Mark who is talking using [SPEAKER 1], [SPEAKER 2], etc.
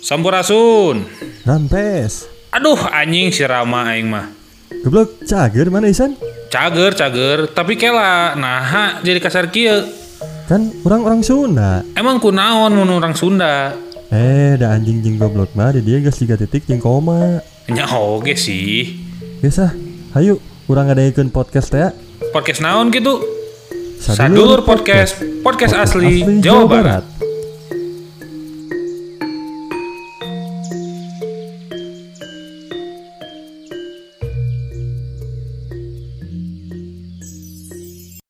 [SPEAKER 1] Sampurasun.
[SPEAKER 2] Rampes.
[SPEAKER 1] Aduh anjing si Rama aing mah.
[SPEAKER 2] Goblok, cager mana Isan?
[SPEAKER 1] Cager cager tapi kela naha jadi kasar kieu.
[SPEAKER 2] Kan orang-orang Sunda.
[SPEAKER 1] Emang kunaon mun orang Sunda?
[SPEAKER 2] Eh, da anjing jeung goblok mah di dia geus tiga titik jeung koma.
[SPEAKER 1] Nya oge sih.
[SPEAKER 2] Geus ah, hayu urang ngadaekeun podcast teh. ya.
[SPEAKER 1] Podcast naon gitu? Sadulur podcast, podcast, asli, Jawa, Barat.